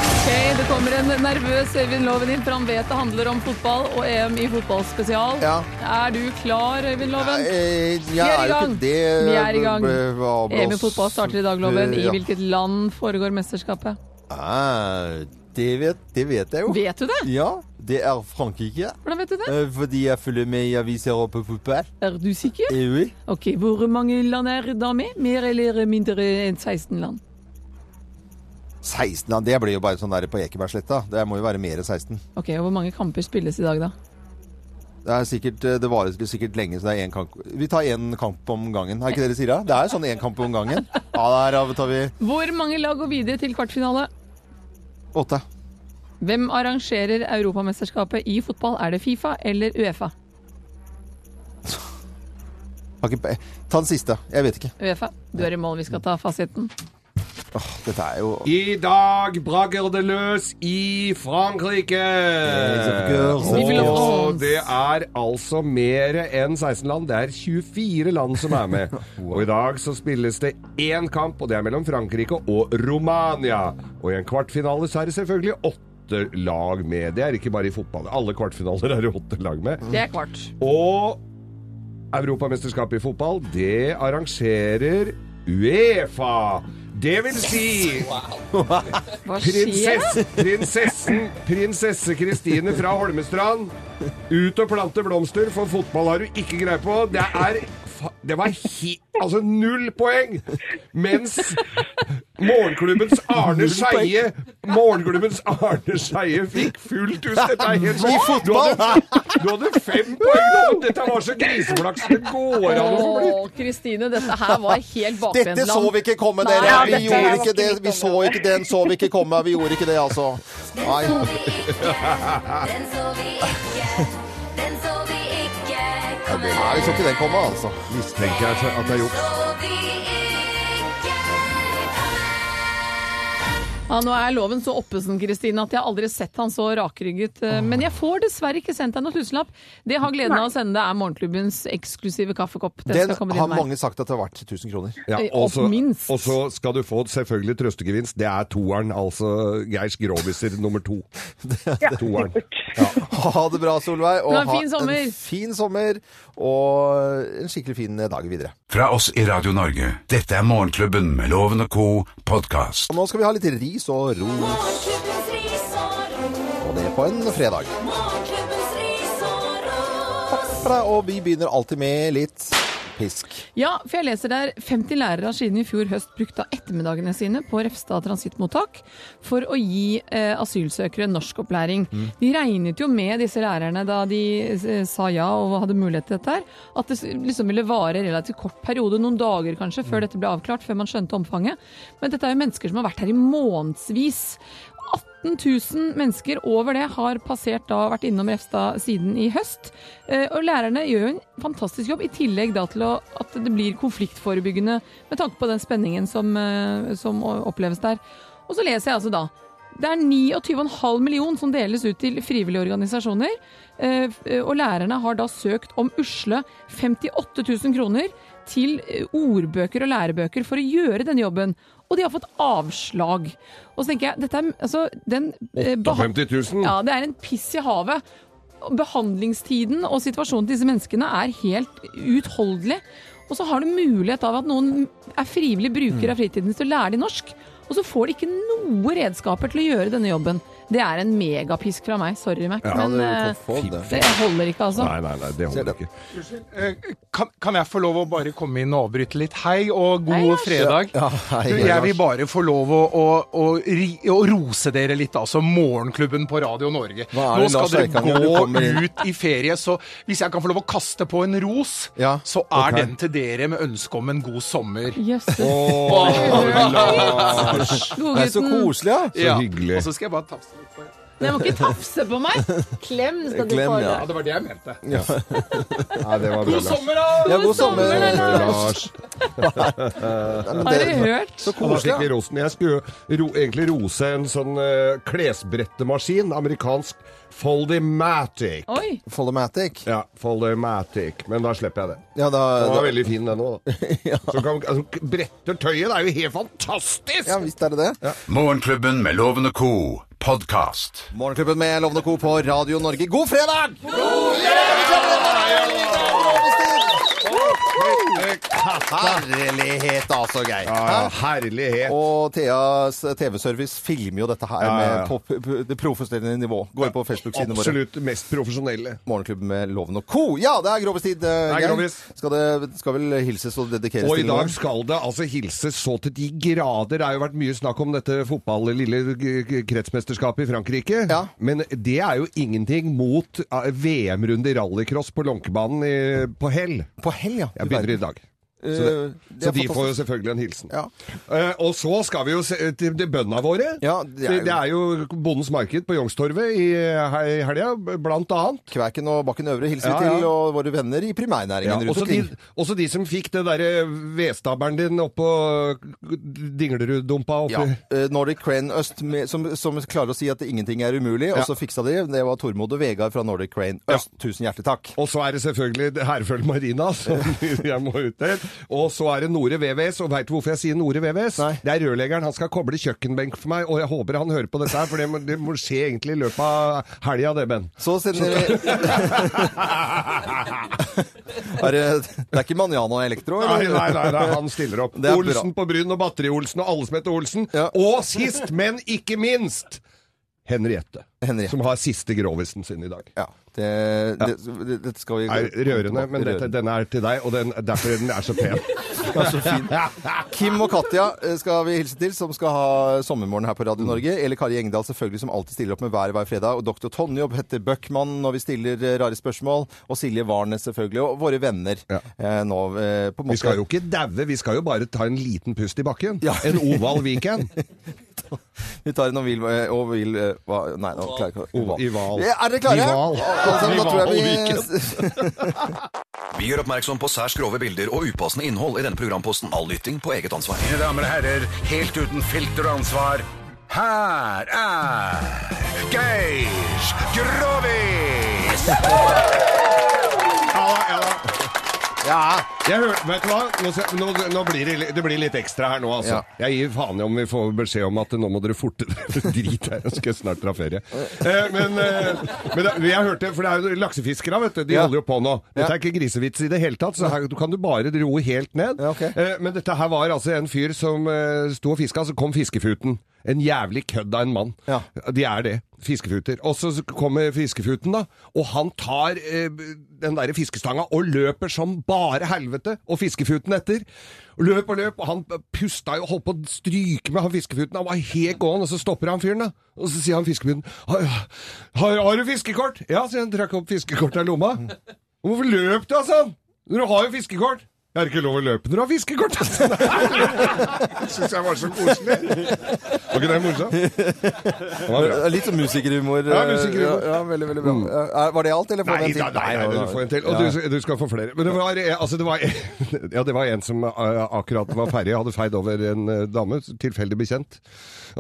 Speaker 5: Ok, det kommer en nervøs Øyvind Loven inn, for han vet det handler om fotball og EM i fotballspesial.
Speaker 3: Ja.
Speaker 5: Er du klar, Øyvind Loven?
Speaker 3: Eh, Jeg
Speaker 5: Vi er i
Speaker 3: er jo
Speaker 5: gang.
Speaker 3: ikke det. eh,
Speaker 5: Vi er i gang.
Speaker 3: Bevabla oss.
Speaker 5: EM i fotball starter i dag, Loven. I
Speaker 3: Eh, Ja.
Speaker 5: hvilket land foregår mesterskapet?
Speaker 3: Ah, det, vet, det vet jeg jo.
Speaker 5: Vet du det?
Speaker 3: Ja, det er Frankrike.
Speaker 5: Hvordan vet du det?
Speaker 3: Eh, Fordi jeg følger med i aviser og på fotball.
Speaker 5: Er du sikker?
Speaker 3: Eh, oui.
Speaker 5: Ok, Hvor mange land er da med? Mer eller mindre enn 16 land?
Speaker 3: 16, ja, det blir jo bare sånn der på Ekebergsletta. Det må jo være mer enn 16.
Speaker 5: Ok, og Hvor mange kamper spilles i dag, da?
Speaker 3: Det, er sikkert, eh, det varer sikkert lenge, så det er én kamp Vi tar én kamp om gangen. Er ikke det dere sier? da? Det er jo sånn én kamp om gangen. Ja, der av- tar vi
Speaker 5: Hvor mange lag går videre til kvartfinale?
Speaker 3: åtte.
Speaker 5: Hvem arrangerer Europamesterskapet i fotball? Er det Fifa eller Uefa?
Speaker 3: Har ikke pe- Ta den siste. Jeg vet ikke.
Speaker 5: Uefa, du er i mål, vi skal ta fasiten.
Speaker 3: Åh, dette er jo
Speaker 4: I dag braker det løs i Frankrike!
Speaker 3: of course.
Speaker 5: Vive la
Speaker 4: Og
Speaker 5: France.
Speaker 4: det er altså mer enn 16 land. Det er 24 land som er med. Og i dag så spilles det én kamp, og det er mellom Frankrike og Romania. Og i en kvartfinale så er det selvfølgelig åtte lag med. Det er ikke bare i fotball. Alle kvartfinaler er det åtte lag med.
Speaker 5: Det er kvart.
Speaker 4: Og Europamesterskapet i fotball, det arrangerer Uefa. Det vil si
Speaker 5: Hva skjer?
Speaker 4: prinsess, prinsessen, prinsesse Kristine fra Holmestrand. Ut og plante blomster, for fotball har du ikke greie på. Det er fa- det var hi, altså null poeng! Mens morgenklubbens Arne Skeie Morgenklubbens Arne Skeie fikk fullt hus. Dette er helt
Speaker 3: I
Speaker 4: sjukt. Du
Speaker 3: fotball!
Speaker 4: hadde du hadde fem poeng! Loven. Dette var så griseflaks det går an å få bli.
Speaker 5: Åh, Kristine, dette her var helt bakvendt.
Speaker 3: Dette så vi ikke komme, dere!
Speaker 5: Nei,
Speaker 3: Vi
Speaker 5: dette
Speaker 3: gjorde
Speaker 5: her var
Speaker 3: ikke det.
Speaker 8: ikke
Speaker 3: Vi så ikke den, så vi ikke komme. Vi gjorde ikke det, altså. Nei.
Speaker 1: Den så vi ikke, den så vi ikke komme.
Speaker 3: Nei, vi så ikke den komme, altså.
Speaker 4: Mistenker jeg at det er juks.
Speaker 1: Så vi ikke
Speaker 5: Ja, nå er loven så oppesen, Kristine, at jeg har aldri sett han så rakrygget. eh, Men jeg får dessverre ikke sendt deg noen tusenlapp. Det jeg har gleden av å sende, er morgenklubbens eksklusive kaffekopp. Den,
Speaker 3: Den
Speaker 5: skal komme
Speaker 3: har
Speaker 5: din vei.
Speaker 3: mange sagt at det har vært 1000 kroner.
Speaker 4: Ja,
Speaker 5: Eh,
Speaker 4: og, så,
Speaker 5: og minst.
Speaker 4: og så skal du få selvfølgelig trøstegevinst. Det er toeren, altså Geirs Groviser nummer to. Toeren.
Speaker 3: Ha det bra, Solveig, og
Speaker 5: Det var en
Speaker 3: ha
Speaker 5: fin sommer.
Speaker 3: en fin sommer og en skikkelig fin eh, dag videre.
Speaker 2: Fra oss i Radio Norge, dette er Morgenklubben med Loven og Co. podkast.
Speaker 3: Og nå skal vi ha litt ris og ros,
Speaker 1: Morgenklubbens ris og ros.
Speaker 3: og det på en fredag.
Speaker 1: Morgenklubbens ris og ros.
Speaker 3: For det, Og vi begynner alltid med litt Pisk.
Speaker 5: Ja, for jeg leser der 50 lærere har siden i fjor høst brukt av ettermiddagene sine på Refstad transittmottak for å gi eh, asylsøkere norskopplæring. De regnet jo med disse lærerne da de eh, sa ja og hadde mulighet til dette her, at det s- liksom ville vare relativt kort periode, noen dager kanskje, før dette ble avklart, før man skjønte omfanget. Men dette er jo mennesker som har vært her i månedsvis. 18 000 mennesker over det har passert da vært innom Refstad siden i høst. Eh, Og lærerne gjør jo en fantastisk jobb, i tillegg da til å, at det blir konfliktforebyggende med tanke på den spenningen som, eh, som oppleves der. Og så leser jeg altså da. Det er 29,5 million som deles ut til frivillige organisasjoner. eh, f- Og lærerne har da søkt om usle 58 000 kroner til eh, ordbøker og lærebøker for å gjøre denne jobben. Og de har fått avslag. Og så tenker jeg, dette er altså den eh, beha-
Speaker 4: 58 000.
Speaker 5: ja, det er en piss i havet. Behandlingstiden og situasjonen til disse menneskene er helt uutholdelig. Og så har du mulighet av at noen er frivillig
Speaker 3: Mm.
Speaker 5: bruker av fritiden sin til å lære de norsk. Og så får de ikke noe redskaper til å gjøre denne jobben. Det er en megapisk fra meg. Sorry, Mac. men eh, det holder ikke, altså.
Speaker 4: Nei, nei, nei, det holder ikke.
Speaker 10: Kan, kan jeg få lov å bare komme inn og avbryte litt? Hei og god
Speaker 5: Hei, Lars.
Speaker 10: fredag.
Speaker 3: Ja, hei,
Speaker 10: du, jeg vil bare få lov å, å, å, ri- å rose dere litt, altså. Morgenklubben på Radio Norge.
Speaker 3: Hva er
Speaker 10: Nå
Speaker 3: det,
Speaker 10: skal
Speaker 3: Lars
Speaker 10: dere
Speaker 3: Eikanger, du kommer inn?
Speaker 10: gå ut i ferie, så hvis jeg kan få lov å kaste på en ros,
Speaker 3: Ja,
Speaker 10: så er
Speaker 3: ok.
Speaker 10: den til dere med ønske om en god sommer.
Speaker 5: Jøsses.
Speaker 3: Det er så
Speaker 5: Godgutten.
Speaker 3: koselig, ja.
Speaker 10: Ja.
Speaker 4: hyggelig.
Speaker 10: Og så skal jeg bare tafse litt på det.
Speaker 5: Nei, må ikke tafse på meg! Klem skal du
Speaker 3: Klem,
Speaker 5: få.
Speaker 3: ja.
Speaker 10: Ja, det var det jeg mente.
Speaker 4: Nei, det var bra. Lars.
Speaker 10: Sommer, da!
Speaker 3: ja god sommer.
Speaker 4: Lars.
Speaker 5: Har dere hørt?
Speaker 3: Så
Speaker 4: Da
Speaker 3: koselig.
Speaker 4: fikk vi
Speaker 3: ja.
Speaker 4: rosen. Jeg skulle jo ro, egentlig rose en sånn eh, klesbrettemaskin. Amerikansk Foldymatic.
Speaker 5: Oi!
Speaker 3: Follomatic.
Speaker 4: Ja, Foldymatic. Men da slipper jeg det.
Speaker 3: Ja, da,
Speaker 4: Den
Speaker 3: da
Speaker 4: var veldig fin, den òg. Som kan- altså, bretter tøyet. Det er jo helt fantastisk!
Speaker 3: ja, visst er det det.
Speaker 2: Morgenklubben med Loven og Co. Podcast.
Speaker 3: Morgenklubben med Lovende Co på Radio Norge. God fredag! God fredag! Herlighet, altså, Geir. Hæ?
Speaker 4: Ja, herlighet.
Speaker 3: Og Theas TV-service filmer jo dette her
Speaker 4: Ja, ja, ja.
Speaker 3: med på p- p- det profesjonelle nivå. Går inn på Facebook-sidene våre.
Speaker 4: Absolutt mest profesjonelle.
Speaker 3: Morgenklubben med Loven og Co. Ja, det er grovestid,
Speaker 4: er
Speaker 3: Geir.
Speaker 4: grovis.
Speaker 3: Skal, det, skal vel hilses og dedikeres
Speaker 4: Og i
Speaker 3: til
Speaker 4: dag
Speaker 3: noen?
Speaker 4: skal det altså hilses så til de grader. Det har jo vært mye snakk om dette fotball, lille g- g- kretsmesterskapet i Frankrike.
Speaker 3: Ja.
Speaker 4: Men det er jo ingenting mot eh, VM-runde i rallycross på Lånkebanen i, på Hell.
Speaker 3: På hell, ja. Eh,
Speaker 4: Jeg begynner i dag. Så, det, så de får jo selvfølgelig en hilsen.
Speaker 3: Ja.
Speaker 4: Eh, og så skal vi jo se til de bøndene våre.
Speaker 3: Ja, det er jo-
Speaker 4: det er jo Bondens Marked på Youngstorget i he- helga, blant annet.
Speaker 3: Kvæken og Bakken Øvre hilser
Speaker 4: Ja,
Speaker 3: vi til,
Speaker 4: ja.
Speaker 3: og våre venner i primærnæringen rundt
Speaker 4: også, de,
Speaker 3: omkring.
Speaker 4: også de som fikk det derre vedstabelen din oppå Dinglerud-dumpa oppi
Speaker 3: Ja. eh, Nordic Crane Øst, med, som, som klarer å si at ingenting er umulig, og så fiksa de. Det var Tormod og Vegard fra Nordic Crane Øst. Tusen hjertelig takk.
Speaker 4: Og så er det selvfølgelig det Herføl Marina, som jeg må ut til. Og så er det Nore VVS, og veit du hvorfor jeg sier Nore VVS?
Speaker 3: Nei.
Speaker 4: Det er rørleggeren. Han skal koble kjøkkenbenk for meg, og jeg håper han hører på dette her, for det må, det må skje egentlig i løpet av helga, det, Ben.
Speaker 3: Så sender vi er det, det er ikke Maniano Elektro,
Speaker 4: Nei,
Speaker 3: eller?
Speaker 4: nei, nei, nei, han stiller opp.
Speaker 3: Det er bra.
Speaker 4: Olsen på Bryn og Batteri-Olsen og alle som heter Olsen.
Speaker 3: Ja.
Speaker 4: Og sist, men ikke minst, Henriette.
Speaker 3: Henriette.
Speaker 4: Som har siste Grovisen sin i dag.
Speaker 3: Ja, det, det, det, dette skal vi
Speaker 4: er rørende, men dette,
Speaker 3: Rørende.
Speaker 4: denne er til deg, og den, derfor er den er så pen.
Speaker 3: Kim og Katja eh, skal vi hilse til, som skal ha sommermorgen her på
Speaker 4: Mm.
Speaker 3: Radio Norge. Eller Kari Engdahl, selvfølgelig, som alltid stiller opp med været hver fredag. Og doktor Tonje og Petter Bøckmann når vi stiller eh, rare spørsmål. Og Silje Warnes, selvfølgelig. Og våre venner
Speaker 4: Ja.
Speaker 3: eh, nå eh, på en måte.
Speaker 4: Vi skal jo ikke daue, vi skal jo bare ta en liten pust i bakken.
Speaker 3: Ja.
Speaker 4: En oval weekend.
Speaker 3: Vi tar en ovil eh, ovil eh, hva? Nei, nå klarer jeg ikke
Speaker 4: Oval. Ival.
Speaker 3: Ja, Er dere klare?
Speaker 4: Ival.
Speaker 3: Alle sammen, Da tror jeg vi
Speaker 11: Vi gjør oppmerksom på særs grove bilder og upassende innhold i denne programposten. All lytting på eget ansvar.
Speaker 2: Mine damer og herrer, helt uten filter og ansvar, her er Geir Grovis!
Speaker 3: Ja.
Speaker 4: Jeg hør, vet du hva? Nå, skal- nå, nå blir det, li- det blir litt ekstra her nå, altså. Jeg gir faen i om vi får beskjed om at nå må dere forte dere. Drit her, jeg skal snart dra ferie. Eh, men eh, men da, jeg hørte, for det er jo laksefiskere, vet du. De
Speaker 3: Ja.
Speaker 4: holder jo på nå. Dette
Speaker 3: Ja.
Speaker 4: er ikke grisevits i det hele tatt, så her kan du bare roe helt ned.
Speaker 3: Ja, ok.
Speaker 4: eh, men dette her var altså en fyr som eh, sto og fiska, så kom fiskefuten. En jævlig kødd av en mann.
Speaker 3: Ja.
Speaker 4: De er det. Fiskefuter. Og så kommer fiskefuten, da. Og han tar eh, den derre fiskestanga og løper som bare helvete helvete, og fiskefuten etter. Løp og løp, og han pusta jo, holdt på å stryke med han fiskefuten. Han var helt gåen, og så stopper han fyren, da. Og så sier han fiskefuten har, har, 'Har du fiskekort?' Ja, sier han, trakk opp fiskekortet av lomma. Hvorfor løp du, altså? Du har jo fiskekort. Jeg har ikke lov å løpe når du har fiskekort! Syns jeg var så koselig. Var ikke det morsomt?
Speaker 3: Litt sånn musikerhumor.
Speaker 4: Ja, musikerhumor. Mm.
Speaker 3: Ja, ja, veldig, veldig bra. Eh, Var det alt, eller får
Speaker 4: Nei,
Speaker 3: vi en til?
Speaker 4: da, nei, nei, nei, du får en til. Og
Speaker 3: Ja.
Speaker 4: du, du skal få flere. Men det var, eh, altså, det var, ja, det var en som eh, akkurat var ferdig, hadde feid over en eh, dame, tilfeldig bekjent.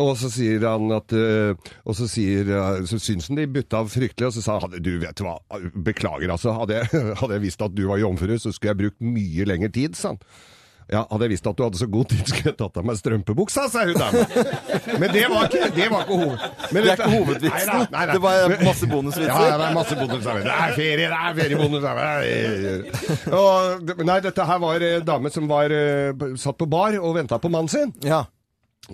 Speaker 4: Og så sier han at eh, Og så sier eh, Så syns han de butta av fryktelig, og så sa han du, vet du hva, beklager, altså. Hadde jeg, hadde jeg visst at du var jomfru, så skulle jeg brukt mye lengre tid, sa han. Ja, Hadde jeg visst at du hadde så god tid, skulle jeg tatt av meg strømpebuksa, sa hun dama. Men det var ikke, det var ikke hoved...
Speaker 3: Det er
Speaker 4: Men dette-
Speaker 3: ikke hovedvitsen.
Speaker 4: Nei, nei, nei, nei.
Speaker 3: Det var masse bonusvitser.
Speaker 4: Ja, ja, det er masse bonusvitser. Det er ferie, det er feriebonus! det er- Og, nei, dette her var eh, dame som var eh, satt på bar og venta på mannen sin.
Speaker 3: Ja.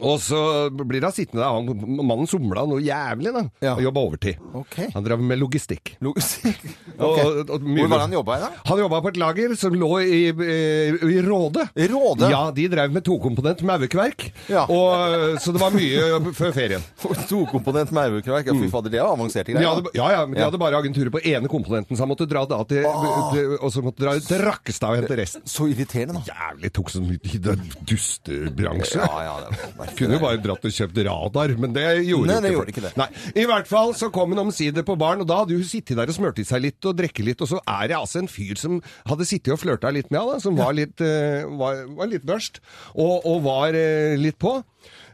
Speaker 4: Og så blir han sittende der. Han, mannen somla noe jævlig, da.
Speaker 3: Ja.
Speaker 4: Og jobba overtid.
Speaker 3: Ok.
Speaker 4: Han drev med logistikk.
Speaker 3: Logistikk.
Speaker 4: Og- og mye-
Speaker 3: Hvor var det han jobba i, da?
Speaker 4: Han jobba på et lager som lå i, eh, i, i Råde.
Speaker 3: I Råde?
Speaker 4: Ja, de drev med tokomponent maurkverk.
Speaker 3: Ja.
Speaker 4: Og, eh, Så det var mye før ferien.
Speaker 3: Tokomponent maurkraik. Mm. Ja, fy fader, det var avanserte
Speaker 4: De
Speaker 3: greier.
Speaker 4: hadde,
Speaker 3: da.
Speaker 4: ja, ja, men de hadde bare agenturer på ene komponenten, så han måtte dra da til, til Og så måtte dra til Rakkestad og hente resten.
Speaker 3: Så irriterende, da.
Speaker 4: Jævlig tok sånn ut i den dustebransje.
Speaker 3: Ja, ja, det var merkelig.
Speaker 4: Kunne jo bare dratt og kjøpt radar, men det gjorde
Speaker 3: Nei, det
Speaker 4: jo folk.
Speaker 3: gjorde ikke det.
Speaker 4: Nei. I hvert fall så kom hun omsider på baren, og da hadde hun sittet der og smurt i seg litt og drukket litt, og så er det altså en fyr som hadde sittet og flørta litt med henne, da, som var litt, eh, var, var litt børst, og, og var eh, litt på.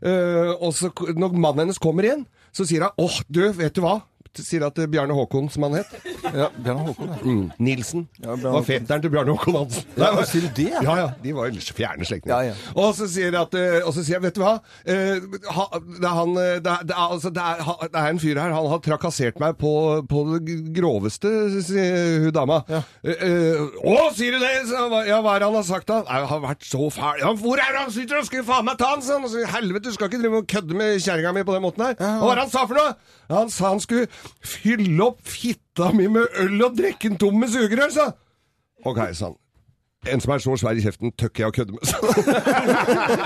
Speaker 4: Eh, og så k- når mannen hennes kommer igjen, så sier hun 'Åh, du, vet du hva?' Sier at eh, Bjarne Håkon, som han het,
Speaker 3: Ja, Bjørn Håkon, Mm. ja.
Speaker 4: Nilsen,
Speaker 3: Bjarne
Speaker 4: var
Speaker 3: Håkon.
Speaker 4: fetteren til Bjarne Håkon Hansen.
Speaker 3: Ja,
Speaker 4: Nei,
Speaker 3: sier du det, ja?
Speaker 4: Ja, ja, de var jo fjerne slektninger.
Speaker 3: Ja, ja.
Speaker 4: Og så sier jeg at eh, Og så sier jeg, vet du hva Eh, ha, Det er han eh, det er, det, er, altså, det, er, ha- det er en fyr her, han har trakassert meg på, på det groveste, sier hun dama.
Speaker 3: Ja.
Speaker 4: Eh, eh, å, sier du det? Så, hva- ja, hva er det han har sagt da? Nei, han har vært så fæl. Ja, hvor er det han sitter og skulle faen meg ta han, sa han. Og så, helvete, du skal ikke drive og kødde med kjerringa mi på den måten her. Hva var det han sa for noe? Han sa han skulle fylle opp fitta mi med øl og drikke den tom med sugerør, sa han. Ok, sa han. En som er så svær i kjeften, tøkker jeg å kødde med. sa han.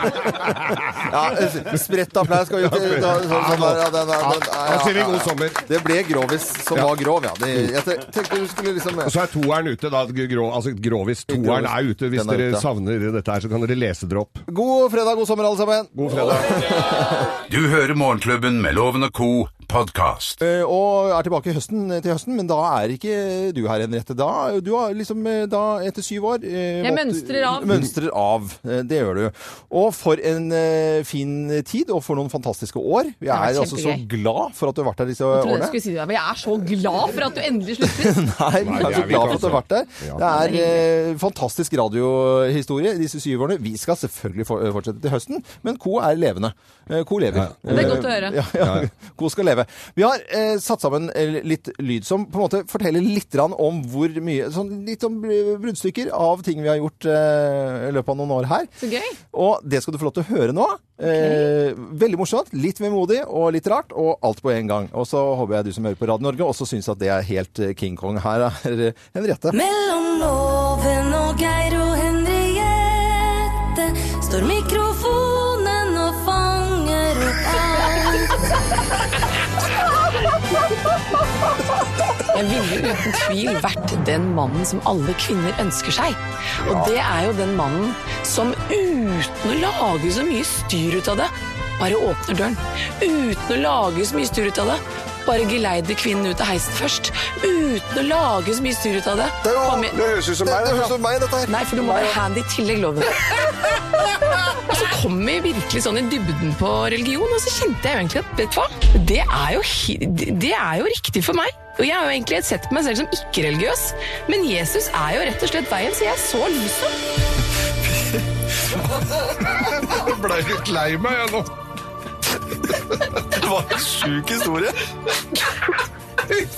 Speaker 3: ja eh, spredt applaus skal vi ut i. da- Sånn, sånn, der, ja, den, er- den, er-
Speaker 4: Da sier vi
Speaker 3: ja, ja,
Speaker 4: god
Speaker 3: ja.
Speaker 4: sommer.
Speaker 3: Det ble grovis som
Speaker 4: Ja.
Speaker 3: var grov, ja. Det, jeg te- tenkte du skulle liksom
Speaker 4: Og så er toeren ute, da. Grå, altså grovis. Toeren er ute. Hvis
Speaker 3: Den er
Speaker 4: dere
Speaker 3: ute.
Speaker 4: savner dette her, så kan dere lese dere opp.
Speaker 3: God fredag, god sommer, alle sammen.
Speaker 4: God fredag.
Speaker 2: Du hører Morgenklubben med Loven og Co. podkast.
Speaker 3: Eh, Og er tilbake i høsten, eh, til høsten, men da er ikke du her, Henriette. Da, du har liksom eh, da, etter syv år eh,
Speaker 5: Jeg
Speaker 3: valgt-
Speaker 5: mønstrer av.
Speaker 3: Mønstrer av. Eh, Det gjør du. Og for en eh, fin tid, og for noen fantastiske år. Jeg
Speaker 5: har vært
Speaker 3: er altså så
Speaker 5: kjempegøy.
Speaker 3: glad for at du har vært her disse
Speaker 5: Jeg trodde jeg
Speaker 3: årene.
Speaker 5: skulle si det, men jeg er så glad for at du endelig slutter.
Speaker 3: Nei, men jeg
Speaker 4: det
Speaker 3: er så
Speaker 4: er
Speaker 3: glad
Speaker 4: vi
Speaker 3: for
Speaker 4: ikke, altså.
Speaker 3: at du har vært der. Det er eh, fantastisk radiohistorie disse syv årene. Vi skal selvfølgelig for, eh, fortsette til høsten, men Co er levende. Eh, Co lever.
Speaker 5: Det er godt å høre.
Speaker 3: Eh, Ja, ja. Co skal leve. Vi har eh, satt sammen eh, litt lyd som på en måte forteller litt grann om hvor mye sånn Litt om br- bruddstykker av ting vi har gjort eh, i løpet av noen år her.
Speaker 5: Så gøy.
Speaker 3: Og det skal du få lov til å høre nå. Eh, veldig morsomt, litt vemodig og litt rart, og alt på en gang. Og så håper jeg du som hører på Radio Norge også syns at det er helt eh, King Kong. Her er eh, Henriette.
Speaker 1: Mellom Loven og Geir og Henriette står mikrofonen og fanger opp alt.
Speaker 5: Jeg ville uten tvil vært den mannen som alle kvinner ønsker seg. Og det er jo den mannen som uten å lage så mye styr ut av det, bare åpner døren. Uten å lage så mye styr ut av det, bare geleider kvinnen ut av heisen først. Uten å lage så mye styr ut av det. Kom igjen.
Speaker 3: høres ut som meg, det høres ut som meg dette her.
Speaker 5: Nei, for du må være handy i tillegg, loven. Og så kom vi virkelig sånn i dybden på religion, og så kjente jeg jo egentlig at vet du hva, det er jo, hi- det er jo riktig for meg. Og jeg har jo egentlig sett på meg selv som ikke-religiøs, men Jesus er jo rett og slett veien, så jeg er så lyset.
Speaker 4: Jeg blei litt lei meg, jeg nå.
Speaker 11: Det var en sjuk historie.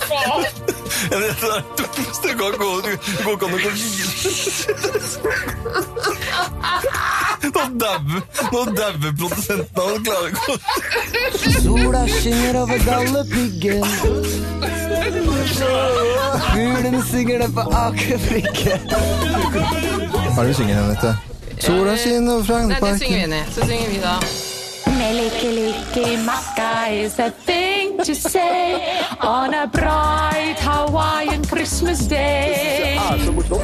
Speaker 11: Faen! Det er det dummeste du kan gå Det går ikke an å gå videre. Nå dauer Nå dauer produsenten av å klare å gå
Speaker 1: Sola skinner over gallepiggen.
Speaker 12: Fuglene synger det på akebrikket.
Speaker 13: Hva er det du synger, Henriette? Sola skinner fra
Speaker 5: Nei, det synger vi inn i. Så synger vi da.
Speaker 14: Melkilikimaka is a thing to say on a bright Hawaiian Christmas day.
Speaker 5: Bedre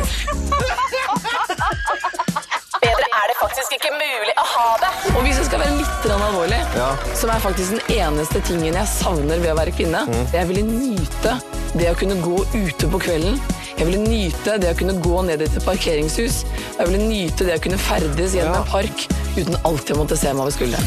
Speaker 5: er det faktisk ikke mulig å ha det. Og hvis jeg skal være litt grann alvorlig,
Speaker 14: Ja.
Speaker 5: som er faktisk den eneste tingen jeg savner ved å være kvinne,
Speaker 14: Mm.
Speaker 5: jeg ville nyte det å kunne gå ute på kvelden. Jeg ville nyte det å kunne gå ned i et parkeringshus. Og jeg ville nyte det å kunne ferdes gjennom en park uten alltid å måtte se meg over skulderen.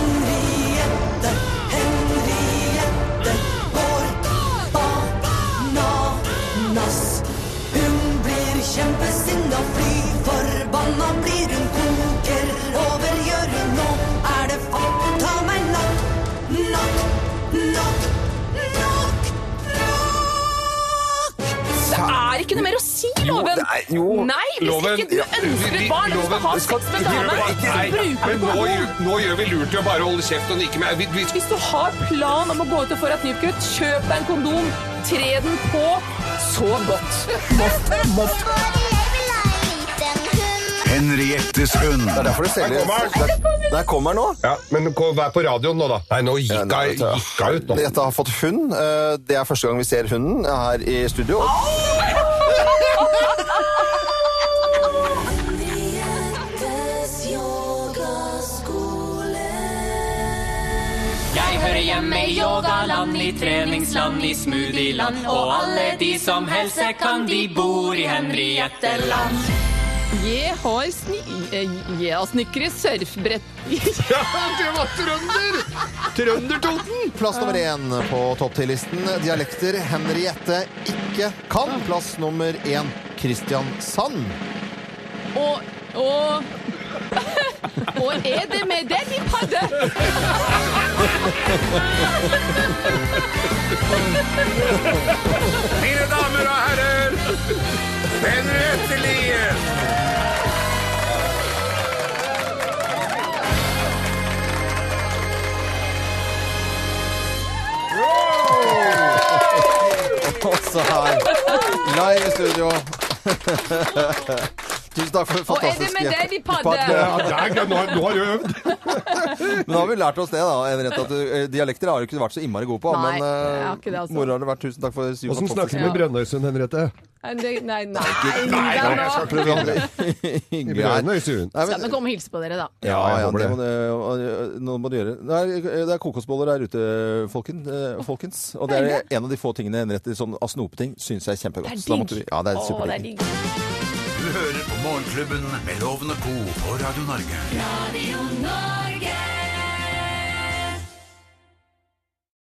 Speaker 14: Ananas. Hun blir kjempesinna, fly forbanna, blir hun koker over gjøret. Nå er det f*** ta meg nok, nok, nok, nok, nok.
Speaker 5: Det er ikke noe mer å si, Loven! Nei, hvis ikke du ønsker et barn, du skal ha sex med dame, så bruker
Speaker 4: Men
Speaker 5: du
Speaker 4: nå,
Speaker 5: kondom.
Speaker 4: gjør- nå gjør vi lurt i å bare holde kjeft og nikke med. Vi, vi,
Speaker 5: Hvis du har plan om å gå ut og få deg et nypkutt, kjøp deg en kondom, tre den på, sov godt. Moff, moff.
Speaker 2: Henriettes hund. Det er derfor det
Speaker 3: selger- Der, der kommer den nå.
Speaker 4: Ja, men ko- vær på radioen nå, da. Nei, nå gikk jeg gikk jeg ut, nå.
Speaker 3: Henriette har fått hund. Eh, Det er første gang vi ser hunden her i studio.
Speaker 14: Jeg hører hjemme i yogaland, i treningsland, i smoothieland. Og alle de som helse kan, de bor i Henrietteland.
Speaker 5: Jeg har sni... eh, Jeg har snikret surfbrett.
Speaker 10: Ja, det var trønder!
Speaker 3: Trøndertoten! Plass nummer én på topp 10-listen. Dialekter Henriette ikke kan. Plass nummer én Kristiansand.
Speaker 5: Og, og... Og er det med det de padde?
Speaker 2: Mine damer og herrer, Henriette Lien!
Speaker 3: Også her. Live i studio. Tusen takk for det
Speaker 5: Og er det
Speaker 3: fantastiske
Speaker 5: med det de padde?
Speaker 4: Ja, der, nå har- nå har du øvd.
Speaker 3: Men da har vi lært oss det, da. Henriette, at eh, Dialekter har du ikke vært så innmari god på.
Speaker 5: Nei,
Speaker 3: men
Speaker 5: jeg
Speaker 3: uh,
Speaker 5: har ikke det, altså.
Speaker 3: moro har det vært. Tusen takk for
Speaker 4: Åssen snakker du med Brønnøysund, Henriette?
Speaker 5: Nei, det- nei, nei.
Speaker 4: Nei,
Speaker 5: det er
Speaker 4: nei, jeg skal
Speaker 5: bra.
Speaker 4: ikke bli I Brønnøysund.
Speaker 3: Nei,
Speaker 5: Skal vi komme og hilse på dere, da?
Speaker 3: Ja,
Speaker 4: jeg
Speaker 3: ja,
Speaker 4: håper
Speaker 3: det
Speaker 4: det.
Speaker 3: må, du- nå må du gjøre. Det er, det er kokosboller der ute, folken, eh, folkens. Og det er en av de få tingene Henriette sånn av snopeting syns jeg er
Speaker 11: Det
Speaker 3: kjempegodt.
Speaker 11: er
Speaker 3: Så da måtte
Speaker 11: digg.
Speaker 3: vi- Ja, det er
Speaker 11: Å, det er
Speaker 3: superdigg.
Speaker 11: Du hører på Morgenklubben med Lovende Co. på Radio Norge.
Speaker 14: Radio Norge.